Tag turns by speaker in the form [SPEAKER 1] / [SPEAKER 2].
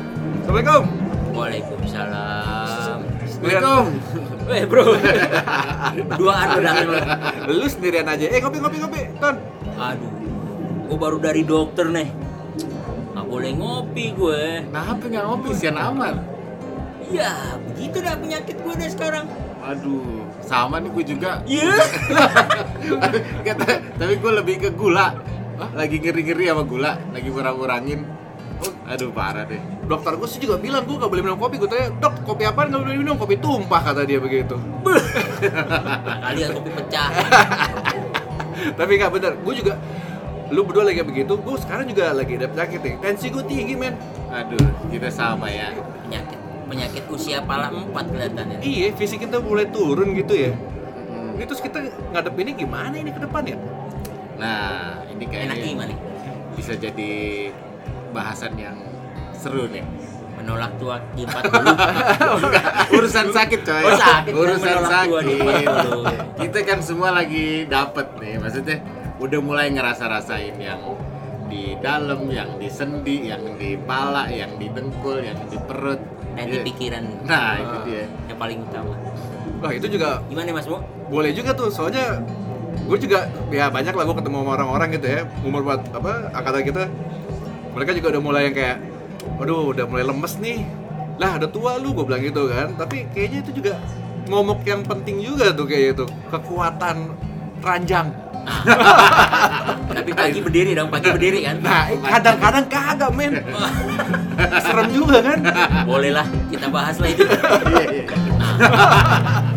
[SPEAKER 1] Assalamualaikum.
[SPEAKER 2] Waalaikumsalam.
[SPEAKER 1] Assalamualaikum.
[SPEAKER 2] Weh bro, duaan udah lu.
[SPEAKER 1] Lu sendirian aja. Eh kopi kopi kopi. Ton.
[SPEAKER 2] Aduh, gue baru dari dokter nih. Nggak boleh ngopi gue.
[SPEAKER 3] Nah, apa nggak ngopi? Sian amat.
[SPEAKER 2] Ya, begitu dah penyakit gue deh sekarang.
[SPEAKER 3] Aduh, sama nih gue juga.
[SPEAKER 2] Iya.
[SPEAKER 3] Kata, tapi gue lebih ke gula. Lagi ngeri-ngeri sama gula, lagi kurang-kurangin. Aduh, parah deh.
[SPEAKER 1] Dokter gue sih juga bilang gue gak boleh minum kopi. Gue tanya dok kopi apa nggak boleh minum kopi tumpah kata dia begitu.
[SPEAKER 2] Nah, kalian kopi pecah.
[SPEAKER 1] Tapi nggak bener. Gue juga lu berdua lagi begitu. Gue sekarang juga lagi ada penyakit nih. Tensi gue tinggi men.
[SPEAKER 3] Aduh, kita sama ya.
[SPEAKER 2] Penyakit penyakit usia pala empat kelihatannya.
[SPEAKER 1] Iya fisik kita mulai turun gitu ya.
[SPEAKER 3] Hmm.
[SPEAKER 1] Ini terus kita ngadepinnya gimana ini ke depan ya?
[SPEAKER 3] Nah,
[SPEAKER 2] Enak
[SPEAKER 3] ini kayaknya
[SPEAKER 2] gimana?
[SPEAKER 3] bisa jadi bahasan yang seru nih.
[SPEAKER 2] Menolak tua di 40.
[SPEAKER 3] Urusan sakit coy.
[SPEAKER 2] Oh, sakit.
[SPEAKER 3] Urusan
[SPEAKER 2] Menolak
[SPEAKER 3] sakit.
[SPEAKER 2] gua di depan lu.
[SPEAKER 3] Kita kan semua lagi dapet nih. Maksudnya udah mulai ngerasa-rasain yang di dalam, yang di sendi, yang di pala, yang di dengkul, yang di perut.
[SPEAKER 2] Dan di Ah.
[SPEAKER 3] Iya.
[SPEAKER 2] pikiran
[SPEAKER 3] Nah, itu dia.
[SPEAKER 2] yang paling utama.
[SPEAKER 1] Wah itu juga
[SPEAKER 2] Gimana Mas Mo?
[SPEAKER 1] boleh juga tuh soalnya gue juga ya banyak lah gue ketemu sama orang-orang gitu ya umur buat apa angkatan kita mereka juga udah mulai yang kayak waduh udah mulai lemes nih lah udah tua lu gue bilang gitu kan tapi kayaknya itu juga ngomong yang penting juga tuh kayak itu kekuatan ranjang
[SPEAKER 2] Tapi
[SPEAKER 3] Nah.
[SPEAKER 2] pagi berdiri dong, pagi berdiri kan?
[SPEAKER 1] nah eh, kadang-kadang kagak men serem juga kan
[SPEAKER 2] Boleh lah, kita bahas lah itu.
[SPEAKER 3] Iya, iya.